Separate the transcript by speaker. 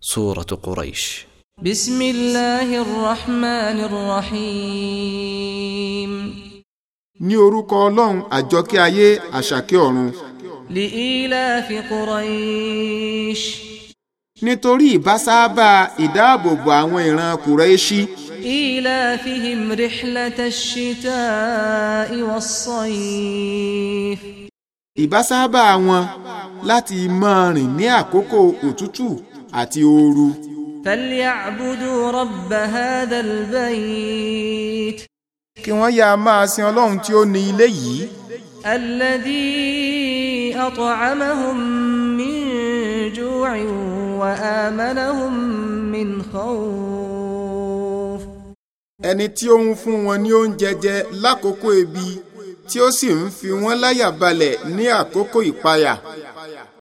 Speaker 1: سورة قريش
Speaker 2: بسم الله الرحمن الرحيم
Speaker 3: ní orúkọ ọlọ́run àjọkẹ́ ayé àṣàkẹ́ ọ̀run
Speaker 2: لإيلاف قريش
Speaker 3: nítorí ìbásáábà ìdáàbòbò àwọn ìran kùrẹ́ṣí
Speaker 2: إيلافهم رحلة الشتاء والصيف
Speaker 3: ìbásáábà wọn láti máa rìn ní àkókò òtútù àti ooru
Speaker 2: فليعبدوا رب هذا البيت
Speaker 3: kí wọ́n yáa máa sin ọlọ́run tí ó ní ilé yìí
Speaker 2: الذي أطعمهم من جوع وآمنهم من خوف
Speaker 3: ẹni tí ó ń fún wọn ní oúnjẹ jẹ lákòókò ebi tí ó sì ń fi wọn láyà balẹ̀ ní àkókò ìpayà